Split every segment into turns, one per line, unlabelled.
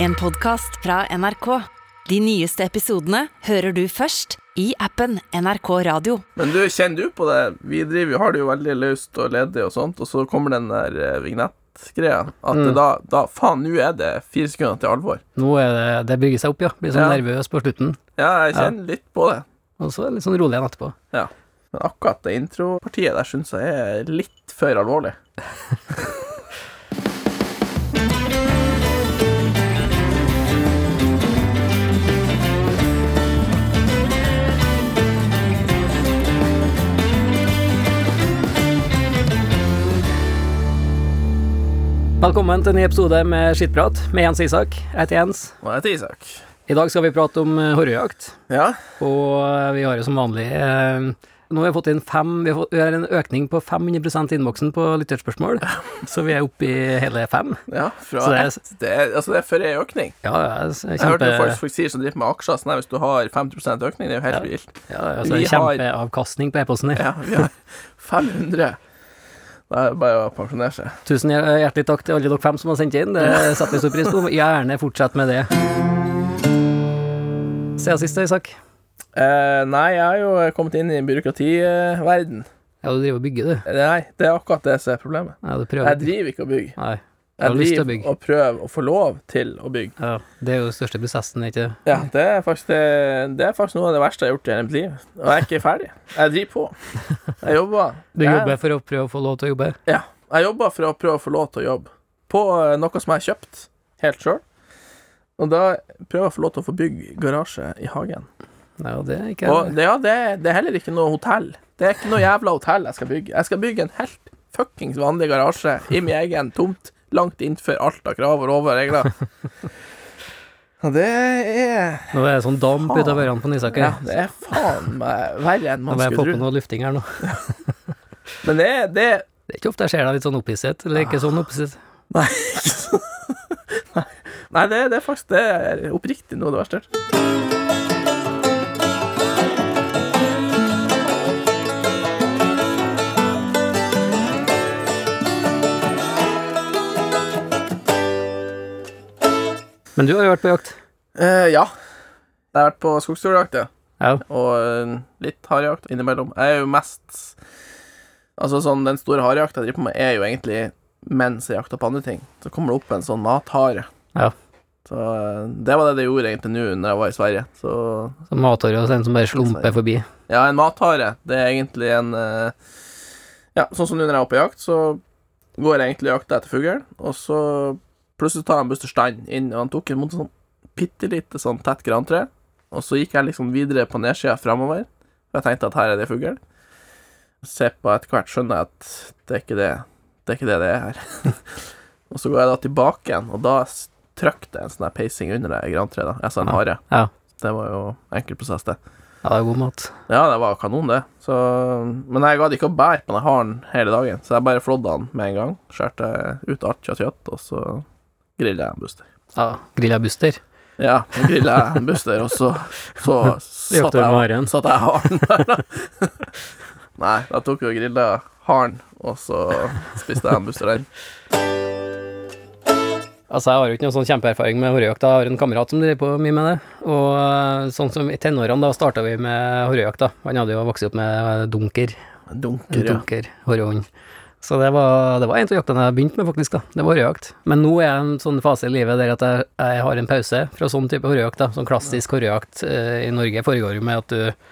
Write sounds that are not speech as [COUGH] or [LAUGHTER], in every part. En podcast fra NRK. De nyeste episodene hører du først i appen NRK Radio.
Men du, kjenner du på det? Vi driver, jo- har det jo veldig løst og ledig og sånt, og så kommer den der eh, vignettgreia. At
Mm.
det da, da Faen, nå er det fire sekunder til alvor.
Nå er det, det bygger seg opp, ja. Blir sånn
Ja.
nervøs på slutten.
Ja, jeg kjenner litt på det.
Og så er det litt sånn rolig igjen etterpå.
Ja. Men akkurat det intropartiet der syns jeg er litt for alvorlig.
Velkommen til en ny episode med Skittprat med Jens Isak. Jeg heter Jens.
Og jeg heter Isak.
I dag skal vi prate om eh, horrejakt,
Ja.
og eh, vi har jo som vanlig eh, Nå har vi fått inn fem Vi har, fått, vi har en økning på 500 i innboksen på
[LAUGHS]
lytterspørsmål, så vi er oppe i hele fem.
ja fra
Så det er-
ett det er, Altså, det er for ei økning.
Ja, ja, s-
Jeg hørte
kjempe,
jo folk, folk sier som driver med aksjer, sånn her, hvis du har 50 økning, det er jo helt vilt.
ja, altså,
vi har-
kjempeavkastning på e-posten her.
Ja, vi har [LAUGHS] 500. Da er det bare å pensjonere seg.
Tusen hjer- eh, hjertelig takk til alle dere fem som har sendt inn. Det setter vi stor pris på. Gjerne fortsett med det. Se oss sist, Isak.
Eh, nei, jeg har jo kommet inn i byråkrativerden.
Ja, du driver og bygger, du.
Nei, det er akkurat det som er problemet.
Ja, du
Jeg
prøver.
driver ikke å bygge.
Nei. Jeg
Jeg
har lyst til å
driver
bygge.
og prøver å få lov til å bygge.
Ja, det er jo den største prosessen, ikke det?
Ja, det er faktisk, det, det er faktisk noe av det verste jeg har gjort i hele mitt liv. Og jeg er ikke ferdig. Jeg driver på. Jeg jobber.
[LAUGHS] Du
Jeg-
jobber for å prøve å få lov til å jobbe?
Ja. Jeg jobber for å prøve å få lov til å jobbe på eh, noe som jeg har kjøpt helt sjøl. Og da prøver jeg å få lov til å få bygge garasje i hagen.
Nei, og det er ikke
Og det, ja, det, det er heller ikke noe hotell. Det er ikke noe jævla hotell jeg skal bygge. Jeg skal bygge en helt fuckings vanlig garasje i min egen tomt, langt innenfor alt av krav og lover og regler. Og det er
Nå er det sånn damp ut av ørene på Nisaker.
Ja, det er faen meg verre enn
Nå
man
må jeg få
skulle
på
tro.
noe lufting her nå.
Men det, er- det er-
Det er ikke ofte jeg ser deg litt sånn opphisset, eller ikke sånn opphisset.
Nei. Nei, det, det er faktisk det er oppriktig noe av det verste. jeg har hørt.
Men du har jo vært på jakt.
Eh, ja. Jeg har vært på skogsturjakt, ja.
Ja.
og eh, litt harejakt innimellom. Jeg er jo mest Altså sånn, Den store harejakta jeg driver på med, er jo egentlig mens jeg jakter på andre ting. Så kommer det opp en sånn mathare.
Ja.
Så eh, det var det det gjorde egentlig nå når jeg var i Sverige. Så
Som mathåret og en som bare slumper forbi.
ja, en mathare, det er egentlig en eh, Ja, sånn som nå når jeg er oppe i jakt, så går jeg egentlig og jakter etter fuglen, og så plutselig tar han Buster Stein inn, og han tok en mot sånn bitte lite sånn tett grantre, og så gikk jeg liksom videre på nedsida framover, og jeg tenkte at her er det fugl. Se på etter hvert, skjønner jeg at det er ikke det det er ikke det det er her. [LAUGHS] og så går jeg da tilbake igjen, og da s- trykte jeg en sånn her peising under det grantreet, da, altså en hare.
Ja.
Det var jo enkel prosess, det.
Ja, det er god mat.
Ja, det var kanon, det. Så, men jeg gadd ikke å bære på den haren hele dagen, så jeg bare flådde han med en gang. Skjærte ut alt kjøtt, kjøtt, og så grilla jeg en Buster.
Ja, grilla Buster.
Ja, så grilla jeg en Buster, og så,
[LAUGHS]
så
Jakter
satt
med
jeg,
haren.
satt jeg haren der, da. [LAUGHS] Nei, da tok jeg og grilla haren, og så spiste jeg en Buster den.
Altså, jeg har jo ikke noen sånn kjempeerfaring med horrejakt. Jeg har en kamerat som driver på mye med det. Og eh, sånn som i tenårene, da starta vi med horrejakt, da. Han hadde jo vokst opp med eh, dunker. En
Dunker, ja.
dunker horrehund. Så det var, det var en av jaktene jeg begynte med, faktisk. da. Det var horrejakt. Men nå er jeg i en sånn fase i livet der at jeg, jeg har en pause fra sånn type horrejakt. da. Sånn klassisk horrejakt eh, i Norge foregår jo med at du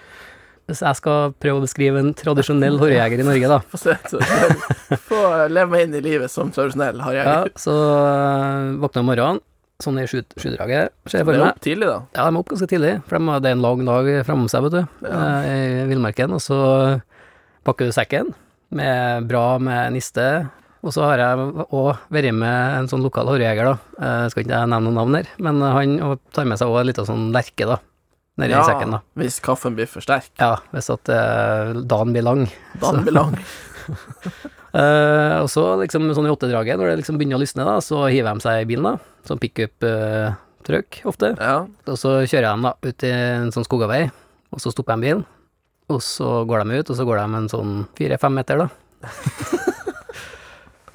Hvis jeg skal prøve å beskrive en tradisjonell horrejeger i Norge, da,
Få se. så- Få leve meg inn i livet som tradisjonell
ja,
harejeger.
så eh, våkner jeg om morgenen, sånn i sju- sjudraget, ser jeg
det
for
er
meg.
opp tidlig, da.
Ja, de er opp ganske tidlig, for de har- det er en lang dag framom seg, vet du,
Ja.
eh, i villmarken. Og så pakker du sekken, med bra med niste. Og så har jeg òg vært med en sånn lokal horrejeger, da. Eh, skal ikke jeg nevne noen navn her, men han og tar med seg òg en liten sånn lerke, da. Nedi i sekken, da.
hvis kaffen blir for sterk.
Ja, hvis at eh, dagen blir lang.
Da blir lang.
Eh, og så liksom sånn i åttedraget, når det liksom begynner å lysne, da, så hiver de seg i bilen, da. Sånn pickup-truck, ofte.
Ja.
Og så kjører jeg dem da ut i en sånn skogavei, og så stopper jeg en bil. Og så går de ut, og så går de en sånn fire-fem meter, da.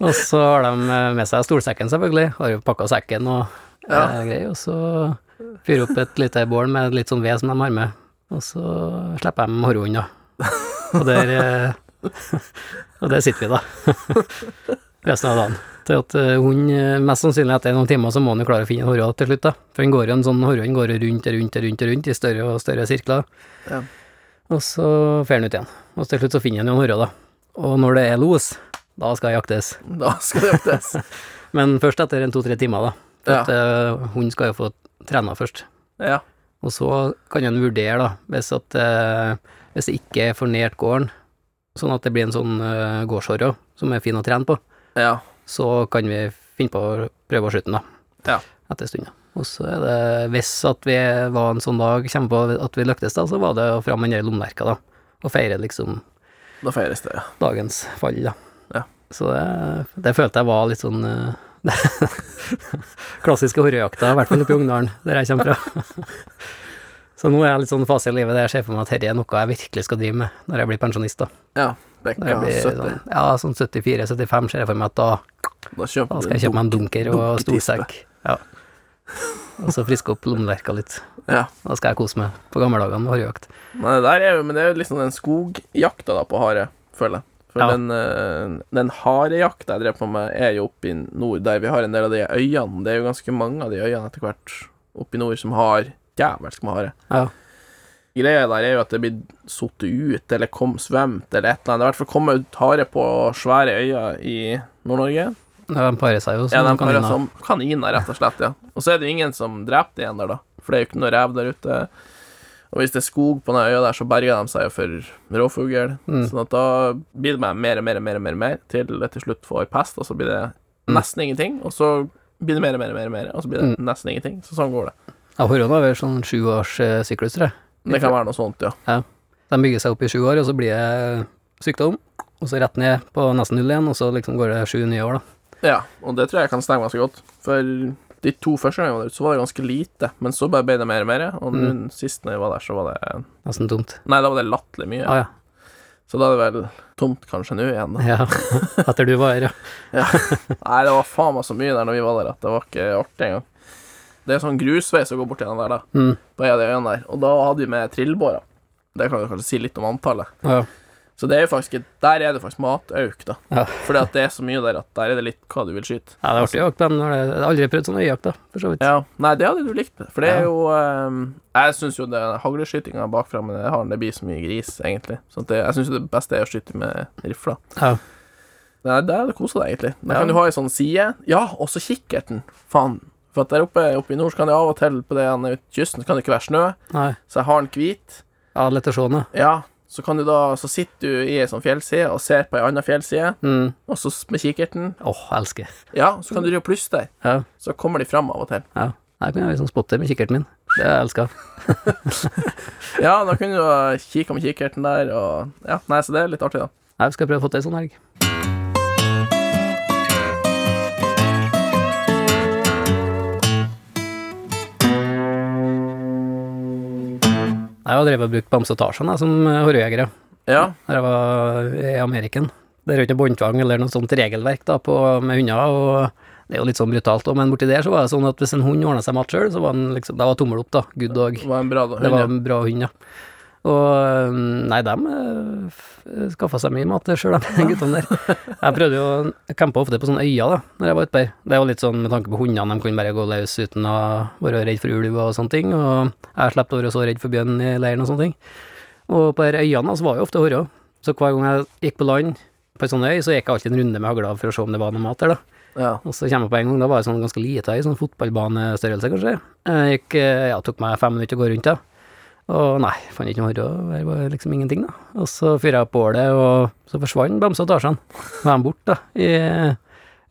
og så har de med seg stolsekken, selvfølgelig. Har jo pakka sekken og
Ja.
eh, grei, og så fyre opp et lite bål med litt sånn ved som de har med, og så slipper de horroen, da. Og der, eh, [LAUGHS] og der sitter vi, da. Resten av dagen. Til at eh, hun, eh, mest sannsynlig etter noen timer, så må hun jo klare å finne en horror til slutt, da. For den går jo en sånn horroen går jo rundt og rundt og rundt, og rundt i større og større sirkler.
Ja.
Og så fer den ut igjen. Og til slutt så finner han jo en horror, da. Og når det er los, da skal jeg jaktes.
[LAUGHS] Da skal det jaktes.
Men først etter en to-tre timer, da. For
Ja.
at, eh, hun skal jo få trena først.
Ja.
Og så kan en vurdere, da, hvis, at, eh, hvis det ikke er for nært gården, sånn at det blir en sånn uh, gårdshorro som er fin å trene på,
ja.
så kan vi finne på å prøve å skyte den, da.
Ja.
Etter stunden. Og så er det, hvis at vi var en sånn dag, kommer på at vi lyktes, da, så var det å fram med den der lommelerka, da. Og feire liksom
Da feires det, ja.
dagens fall, da.
Ja.
Så det, det følte jeg var litt sånn eh, [LAUGHS] klassiske horrejakta, i hvert fall oppe i Ungdalen, der jeg kommer fra. [LAUGHS] Så nå er jeg litt sånn fase i livet der jeg ser for meg at dette er noe jeg virkelig skal drive med når jeg blir pensjonist. da.
Ja.
Når jeg
Bekka
blir
70.
sånn, ja, sånn 74-75 ser jeg for meg at da,
Da kjøper
da
du
skal jeg kjøpe meg en dunker og
dunketispe.
storsekk. Ja. Og så friske opp lommeverka litt.
Ja.
Da skal jeg kose meg på gammeldagene med horrejakt.
Men det, der er jo, men det er jo liksom den skogjakta da på hare, føler jeg. For
Ja.
den, eh, den harejakta jeg drev på med, er jo oppe i nord, der vi har en del av de øyene. Det er jo ganske mange av de øyene etter hvert oppe i nord som har jævelsk med hare.
Ja.
Greia der er jo at det blir sittet ut, eller kom svømt, eller et eller annet. I hvert fall kommer ut hare på svære øyer i Nord-Norge.
De parer seg jo
Ja, de sånn.
som
har
kaniner.
som kaniner, rett og slett, ja. Og så er det jo ingen som dreper de ennå, da. For det er jo ikke noe rev der ute. Og hvis det er skog på den øya der, så berger de seg jo for rovfugl.
Mm.
Sånn at da blir det med mer og mer og mer, og mer, og mer til det til slutt får pest, og så blir det
Mm.
nesten ingenting. Og så blir det mer og mer og mer, og mer, og så blir det nesten ingenting. Så sånn går det.
Ja, Horrene har vel sånn sju års eh, syklus, tror jeg.
Det kan være noe sånt, ja.
De bygger seg opp i sju år, og så blir det sykdom. Og så rett ned på nesten null igjen, og så liksom går det sju nye år, da.
Ja, og det tror jeg kan stemme ganske godt. For de to første gangene jeg var der ute, så var det ganske lite, men så bare ble det mer og mer, og
Mm.
mm. sist når jeg var der, så var det
Nesten tomt.
Nei, da var det latterlig mye.
Ah, ja.
Så da er det vel tomt kanskje nå igjen, da.
ja. [LAUGHS] Etter du var her, ja.
Nei, det var faen meg så mye der når vi var der at det var ikke artig engang. Det er sånn grusvei som går bort gjennom der, da.
Mm.
På en av de øyene der. Og da hadde vi med trillbårer. Det kan du kanskje si litt om antallet.
Ja.
Så det er jo faktisk Der er det faktisk matauk, da.
Ja.
Fordi at det er så mye der at der er det litt hva du vil skyte.
ja, det er artig jakt, men når det- jeg har aldri prøvd sånn øyejakt, da, for så vidt.
Ja, Nei, det hadde du likt, for det er
Ja.
jo ehm, Jeg syns jo det hagleskytinga bakfra med det haren, det blir så mye gris, egentlig. Så det, jeg syns jo det beste er å skyte med rifla.
Ja.
Nei, der er det koset deg, egentlig. Der
Ja.
kan du ha ei sånn side. Ja, også kikkerten. Faen. For at der oppe, oppe i nord så kan det av og til på det ene ut kysten så kan det ikke være snø,
Nei.
så jeg har den hvit.
Ja, lett å se nå.
Ja, så kan du da Så sitter du i ei sånn fjellside og ser på ei anna fjellside,
Mm.
og så s- med kikkerten
Åh, jeg elsker.
Ja, så kan du drive og plusse der.
Ja.
Så kommer de fram av og til.
ja. Jeg kunne vært sånn spotter med kikkerten min. Det har jeg elska.
Ja, da kunne du ha kikka med kikkerten der, og Ja, nei, så det er litt artig, da.
Jeg skal prøve å få til ei sånn helg. Jeg har drevet og brukt bamsetasjen jeg, som eh, horrejegere
Ja.
da jeg var i Ameriken. Det er jo ikke båndtvang eller noe sånt regelverk da, på, med hunder, og det er jo litt sånn brutalt òg, men borti der så var det sånn at hvis en hund ordna seg mat sjøl, så var den liksom, da var tommel opp, da. Good dog.
Det var en bra hund.
Det var
ja.
en bra hund, ja. Og øhm, nei, de skaffa seg mye mat sjøl, de [LAUGHS] guttene der. Jeg prøvde jo å campe ofte på sånne øyer da, når jeg var ute der. Det var litt sånn med tanke på hundene, de kunne bare gå løs uten å være redd for ulv og sånne ting. Og jeg slapp å være så redd for bjørn i leiren og sånne ting. Og på de her øyene da, så var det jo ofte horrer. Så hver gang jeg gikk på land på en sånn øy, så gikk jeg alltid en runde med hagla for å se om det var noe mat der, da.
Ja.
Og så kommer jeg på en gang, da var jeg sånn ganske lite i sånn fotballbanestørrelse, kanskje. Jeg gikk, eh, ja, tok meg fem minutter å gå rundt, da. Og nei, fant ikke noe horro, det var liksom ingenting, da. Og så fyra jeg opp bålet, og så forsvant bamsa og Tarzan. Var de borte, da, i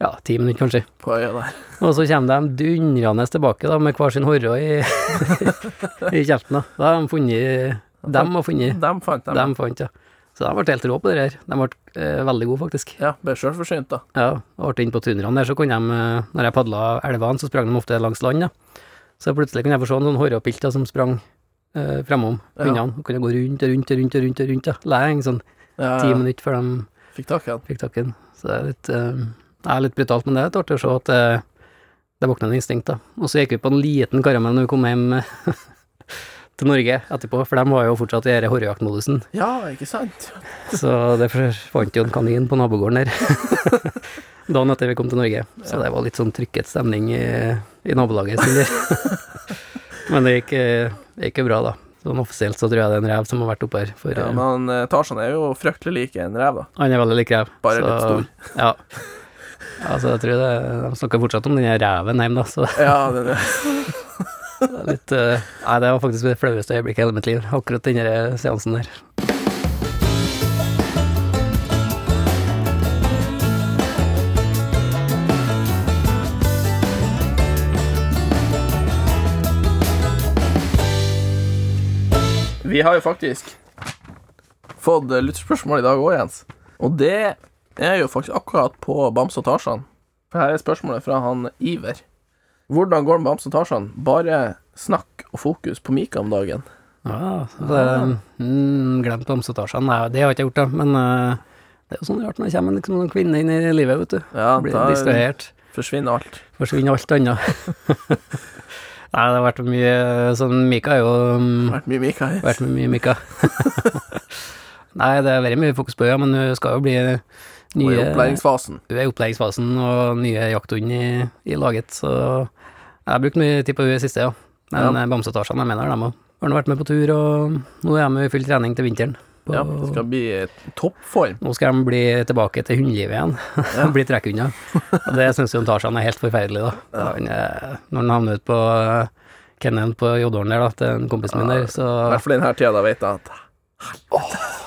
ja, ti minutter, kanskje.
På øya der.
Og så kommer de dundrende tilbake, da, med hver sin horro i, [LAUGHS] i kjelten, da. Da har de funnet Dem har funnet
Dem fant dem.
Dem fant, ja. Så de ble helt rå på det her. De ble eh, veldig gode, faktisk.
Ja, ble sjølforsynt, da.
Ja, og ble inne på tundraene der, så kunne de, eh, når jeg padla elvene, så sprang de ofte langs land, da. Så plutselig kunne jeg få se noen horrepilter som sprang eh, framom
Ja.
hundene, og kunne gå rundt og rundt og rundt og rundt, og rundt da. lenge, sånn
Ja,
ti minutter før de
Fikk tak i den.
fikk tak i den. Så det er litt, eh, det er litt brutalt, men det er litt artig å se at eh, Det våkna en instinkt, da. Og så gikk vi på en liten karamell når vi kom hjem eh, [LAUGHS] til Norge etterpå, for de var jo fortsatt i denne horrejaktmodusen.
Ja, ikke sant?
Så derfor fant jo en kanin på nabogården der.
[LAUGHS]
Dagen etter vi kom til Norge. Så det var litt sånn trykket stemning i, i nabolaget en stund der.
[LAUGHS]
Men det gikk, eh, det gikk jo bra, da. Sånn offisielt så tror jeg det er en rev som har vært oppe her. For,
Ja,
eh,
men eh, Tarzan er jo fryktelig lik en rev, da.
Han er veldig lik rev.
Bare litt stor.
Ja. Altså, jeg tror det, De snakker fortsatt om den her reven hjemme, da, så
Ja, den er
det er litt eh, Nei, det var faktisk det flaueste øyeblikket i hele mitt liv, akkurat den her seansen der.
Vi har jo faktisk fått eh, lyttespørsmål i dag òg, Jens. Og det er jo faktisk akkurat på Bamse og Tarzan. For her er spørsmålet fra han Iver. Hvordan går det med Bamse og Tarzan? Bare snakk og fokus på Mika om dagen.
Ja, så det, mm, glemt bamsetasjen. Nei, det har jeg ikke gjort, da. Men eh, det er jo sånn rart når det kommer liksom, noen kvinner inn i livet, vet du.
Ja,
Blir
da
distrahert.
forsvinner alt.
Forsvinner alt annet. [LAUGHS] Nei, det har vært mye sånn Mika er jo
Det
mm,
har vært mye Mika her.
vært med mye Mika. [LAUGHS] Nei, det har vært mye fokus på, ja, men hun skal jo bli
Og i
nye
opplæringsfasen.
Hun er i oppleggsfasen og nye jakthund i, i laget, så jeg har brukt mye tid på henne i siste, ja. Men eh, ja. bamsetasjene er med der, dem òg. Har nå vært med på tur, og nå er de i full trening til vinteren. På,
Ja, det skal bli eh, toppform.
Nå skal de bli tilbake til hundelivet igjen, [LAUGHS] bli trekkhunder. Og det syns jo Tarzan er helt forferdelig, da. Han, eh, når han havner ut på eh, kennelen på Jodålen der, da, til en kompis min der, så
I hvert fall denne tida, da vet jeg at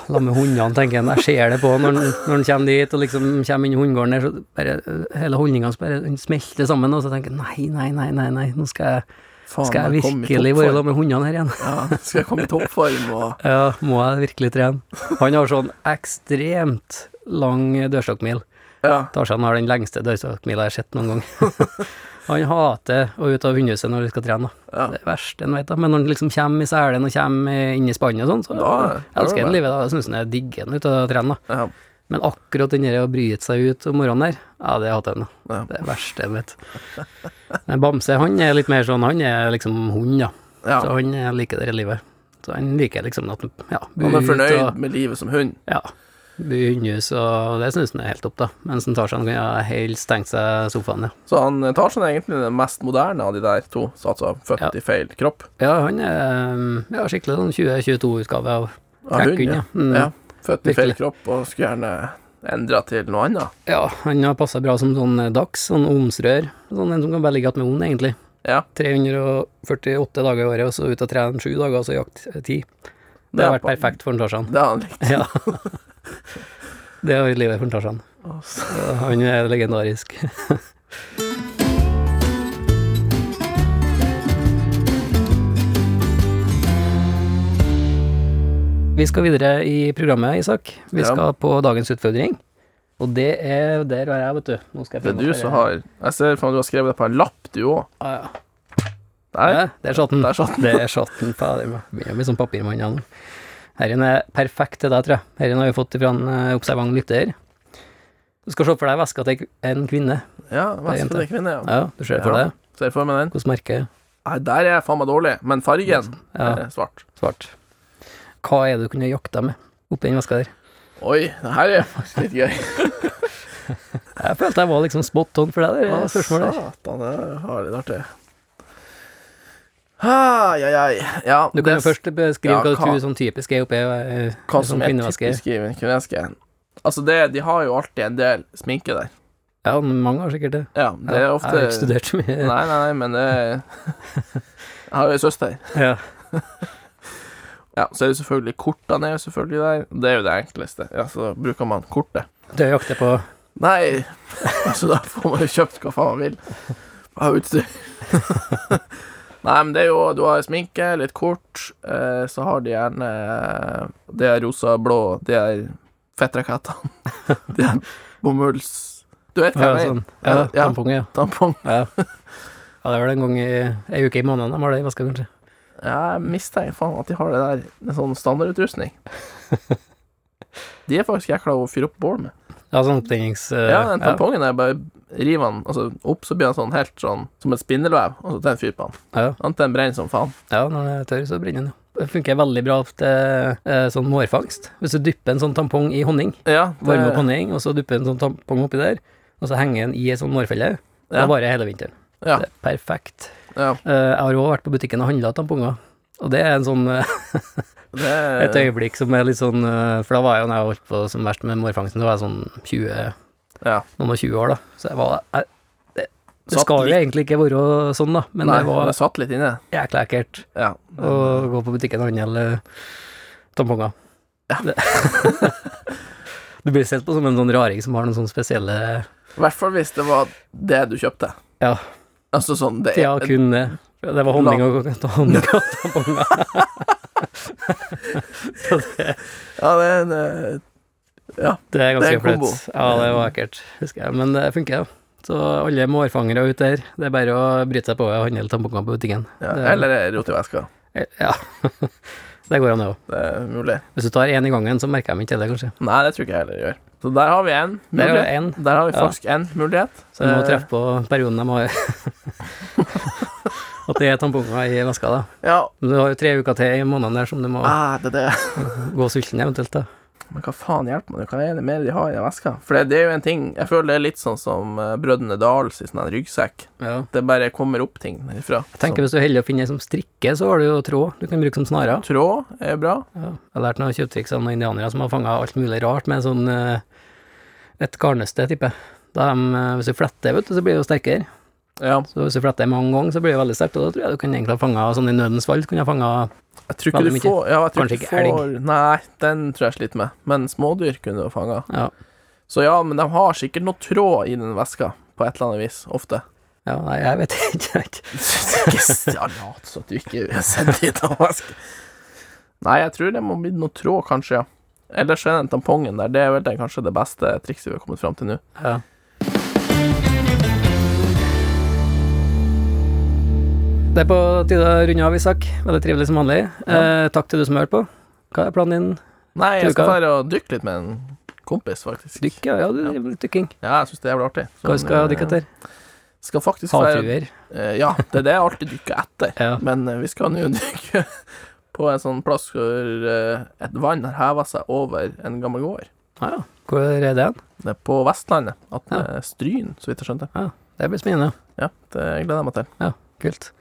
La med hundene, tenker han. Jeg ser det på han når han, når han kommer dit og liksom kommer inn i hundegården der, så bare øh, hele holdninga hans bare den smelter sammen, og så tenker jeg nei, nei, nei, nei, nei, nå skal jeg,
faen,
skal jeg
jeg kom i
virkelig være
toppform.
sammen med hundene her igjen.
Ja, skal jeg komme i toppform og
Ja, må jeg virkelig trene? Han har sånn ekstremt lang dørstokkmil.
Ja.
Tarzan har den lengste dørstokkmila jeg har sett noen gang. Han hater å ut av hundehuset når vi skal trene, da.
Ja.
Det er verst, en vet da. Men når han liksom kommer i selen og kommer inn i spannet og sånn, så
Da-
elsker han livet. Da syns han jeg digger han ut av å trene, da.
ja.
Men akkurat den der å bryte seg ut om morgenen der, ja, det hater jeg nå.
Ja.
Det er verste jeg vet. Men Bamse, han er litt mer sånn, han er liksom hund, ja.
Ja.
Så han eh, liker det i livet. Så han liker liksom at ja, bu
Han er fornøyd
og
med livet som hund.
ja, bu i hundehus, og det syns han er helt topp, da. Mens han tar seg en kan ja, helst tenke seg sofaen, ja.
Så han eh, Tarzan er egentlig den mest moderne av de der to, så altså født
Ja.
i feil kropp.
Ja, han er eh, ja, skikkelig sånn 2022-utgave av
Av hund,
Trekkhund, ja. Mm.
Ja, født i feil
Virkelig.
kropp og skulle gjerne endra til noe annet.
Ja, han har passa bra som sånn eh, dags, sånn omsrør. Sånn en som kan bare ligge igjen med ond, egentlig.
Ja.
348 dager i året, og så ut og trene sju dager, og så jakt eh, ti. Det
Det er
har vært
på-
perfekt for en
[LAUGHS]
Tarzan.
Det har han likt.
Ja. Det har vært livet for en Tarzan. Så Han er legendarisk. [LAUGHS] Vi skal videre i programmet, Isak. Vi
Ja.
skal på dagens utfordring. Og det er Der var jeg, vet du. Nå skal jeg
Det er
finne
du
opp
som
her.
har Jeg ser for meg at du har skrevet det på en lapp, du òg.
Ah, ja.
Der.
Ja, Der satt den.
Der satt den.
Det er satt den. Fader, jeg Begynner å bli sånn papirmann igjen. Herren er perfekt til deg, tror jeg. Herren har vi fått fra en eh, observant lytter. Du skal se for deg veska til en kvinne.
Ja,
jente.
Vestfold er kvinne, ja.
Ja, du ser for
Ja.
deg
Ser for meg den.
hvordan merket
Nei, der er jeg faen meg dårlig, men fargen
Ja.
er svart.
svart. Hva er det du kunne jakta med oppi den veska der?
Oi, det her er faktisk litt gøy.
Jeg følte jeg var liksom spot on for deg, det der, spørsmålet der.
Eh, Satan, det har litt artig. Ai, ai, ai. Ja,
Du kan
det-
jo først beskrive
Ja,
hva du
hva-
tror sånn typisk er oppi ei
Hva som
sånn
er
kvinneveske.
typisk i en kinesisk en? Altså, det, de har jo alltid en del sminke der.
Ja, mange har sikkert det.
Ja, det er ofte
Jeg har ikke studert så mye.
Nei, nei, nei, men det
[LAUGHS]
er- Jeg har jo ei søster.
Ja.
Ja, så er det selvfølgelig kortene er jo selvfølgelig der. Det er jo det enkleste. Ja, så da bruker man kortet.
Du har jakta på
Nei, [LAUGHS] altså da får man jo kjøpt hva faen man vil. Av utstyr. [LAUGHS] Nei, men det er jo Du har sminke, litt kort, eh, så har de gjerne eh, Det er rosa, blå, de er [LAUGHS] fettrakettene. De er bomulls Du vet hva
ja,
jeg
sånn.
mener?
Ja,
Ja.
tampong, ja.
Tampong.
Ja. [LAUGHS] ja, det var det en gang i ei uke i måneden de har det i veska, kanskje.
Jeg mistenker faen at de har det der En sånn
[LAUGHS]
standardutrustning De er faktisk jækla å fyre opp bål med
Ja, sånn opptennings... eh,
Ja, den tampongen er bare river han altså, opp, så blir han sånn helt sånn som et spindelvev, og så tenner fyr på han.
Ja,
Han tenner brenner som faen.
ja når den er tørr, så brenner den. jo. Det funker veldig bra til eh, sånn mårfangst. Hvis du dypper en sånn tampong i honning,
Ja, det-
varme opp honning, og så dypper en sånn tampong oppi der, og så henger den i en sånn mårfelle,
Ja.
det varer hele vinteren.
Ja.
Det er perfekt.
ja.
Eh, jeg har òg vært på butikken og handla tamponger, og det er en sånn eh,
Det er
Et øyeblikk som er litt sånn eh, For da var jeg jo når jeg holdt på som verst med mårfangsten, da var jeg sånn 20,
Ja.
noen og 20 år, da. Så jeg var jeg, det, det
Satt
skal jo
litt-
egentlig ikke være sånn, da, men
Nei,
det
det
var
satt litt inne.
jækla ekkelt
Ja.
å gå på butikken og handle eh, tamponger. Det- [LAUGHS] du blir sett på som en sånn raring som har noen sånne spesielle
I hvert fall hvis det var det du kjøpte.
Ja.
Altså sånn det
Ja, kun det. Det var honning og, [LAUGHS] honning og tamponger. Så det
Ja, det er en eh,
Det er
Det er
ganske
en kombo.
flaut. Ja, det var ekkelt, husker jeg. Men det funker, jo. Så alle mårfangere ute der, det er bare å bryte seg på og handle tamponger på butikken.
ja,
Det er-
Eller rot i veska.
[LAUGHS] Ja, det går an, det òg.
Det er mulig.
Hvis du tar én i gangen, så merker jeg meg ikke det, kanskje.
Nei, det tror ikke jeg heller gjør. Så der har vi en
Der er
mulighet.
det én,
Der har vi
Ja.
faktisk en mulighet.
så du må
Eh,
treffe på perioden de har. At det er tamponger i veska, da.
Ja,
Men du har jo tre uker til i måneden der som du må
ah, det er det.
gå sulten eventuelt, da.
Men hva faen hjelper meg? Hva er det mer de har i den veska? For det, det er jo en ting Jeg føler det er litt sånn som eh, Brødrene Dahls i sånn her ryggsekk.
Ja.
Det bare kommer opp ting derifra.
Jeg tenker Hvis du er heldig og finner ei som strikker, så har du jo tråd du kan bruke som snarer.
Så, tråd er bra.
Ja, jeg har lært noen kjøptriks av noen indianere som har fanga alt mulig rart med sånn eh, et garnnøste, tipper jeg. Da de, eh, Hvis du fletter, vet du, så blir det jo sterkere.
Ja.
Så hvis du fletter mange ganger, så blir det veldig sterkt, og da tror jeg du kan egentlig ha fanga sånn i nødens fall. Kunne ha fanga
Jeg tror ikke
Veldig
du
mye.
får ja, jeg tror
Kanskje
ikke du
ikke
får, Nei, den tror jeg sliter med. Men smådyr kunne du fanga.
ja,
Så ja, men de har sikkert noe tråd i den veska, på et eller annet vis.
[LAUGHS]
Ofte.
ja, nei, jeg vet [LAUGHS] ikke.
Ikke s- ja, lat som at du ikke har sett dit
[LAUGHS]
og vaske. Nei, jeg tror det må bli noe tråd, kanskje, ja. Ellers er den tampongen der, det er vel den kanskje det beste trikset vi har kommet fram til nå.
Ja. Det er på tide å runde av, Isak. Veldig trivelig som vanlig. Eh, takk til du som hørte på. Hva er planen din?
Nei, jeg
Tror
skal
ikke-
dra og dykke litt med en kompis, faktisk.
Dykk, ja. ja du, driver med litt dykking.
Ja, jeg syns det er jævlig artig.
Hva
Så,
skal
eh,
du dykke etter?
Skal faktisk være
Havfruer.
eh, Ja, det er det jeg alltid dykker etter.
Ja.
Men eh, vi skal nå dykke på en sånn plass hvor eh, et vann har heva seg over en gammel gård.
Ah, ja. Hvor er det hen?
Det er på Vestlandet. At det
Ja.
er Stryn, så vidt jeg skjønte.
Det blir spennende.
Ja, det gleder jeg meg til.
Kult.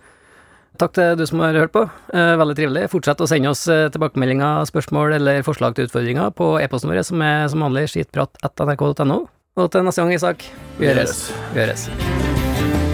Takk til du som har hørt på. Eh, veldig trivelig. Fortsett å sende oss eh, tilbakemeldinger, spørsmål eller forslag til utfordringer på e-posten vår, som er som vanlig skitprat.nrk.no. Og til neste gang, Isak, vi høres.
Gjøres.
Vi høres.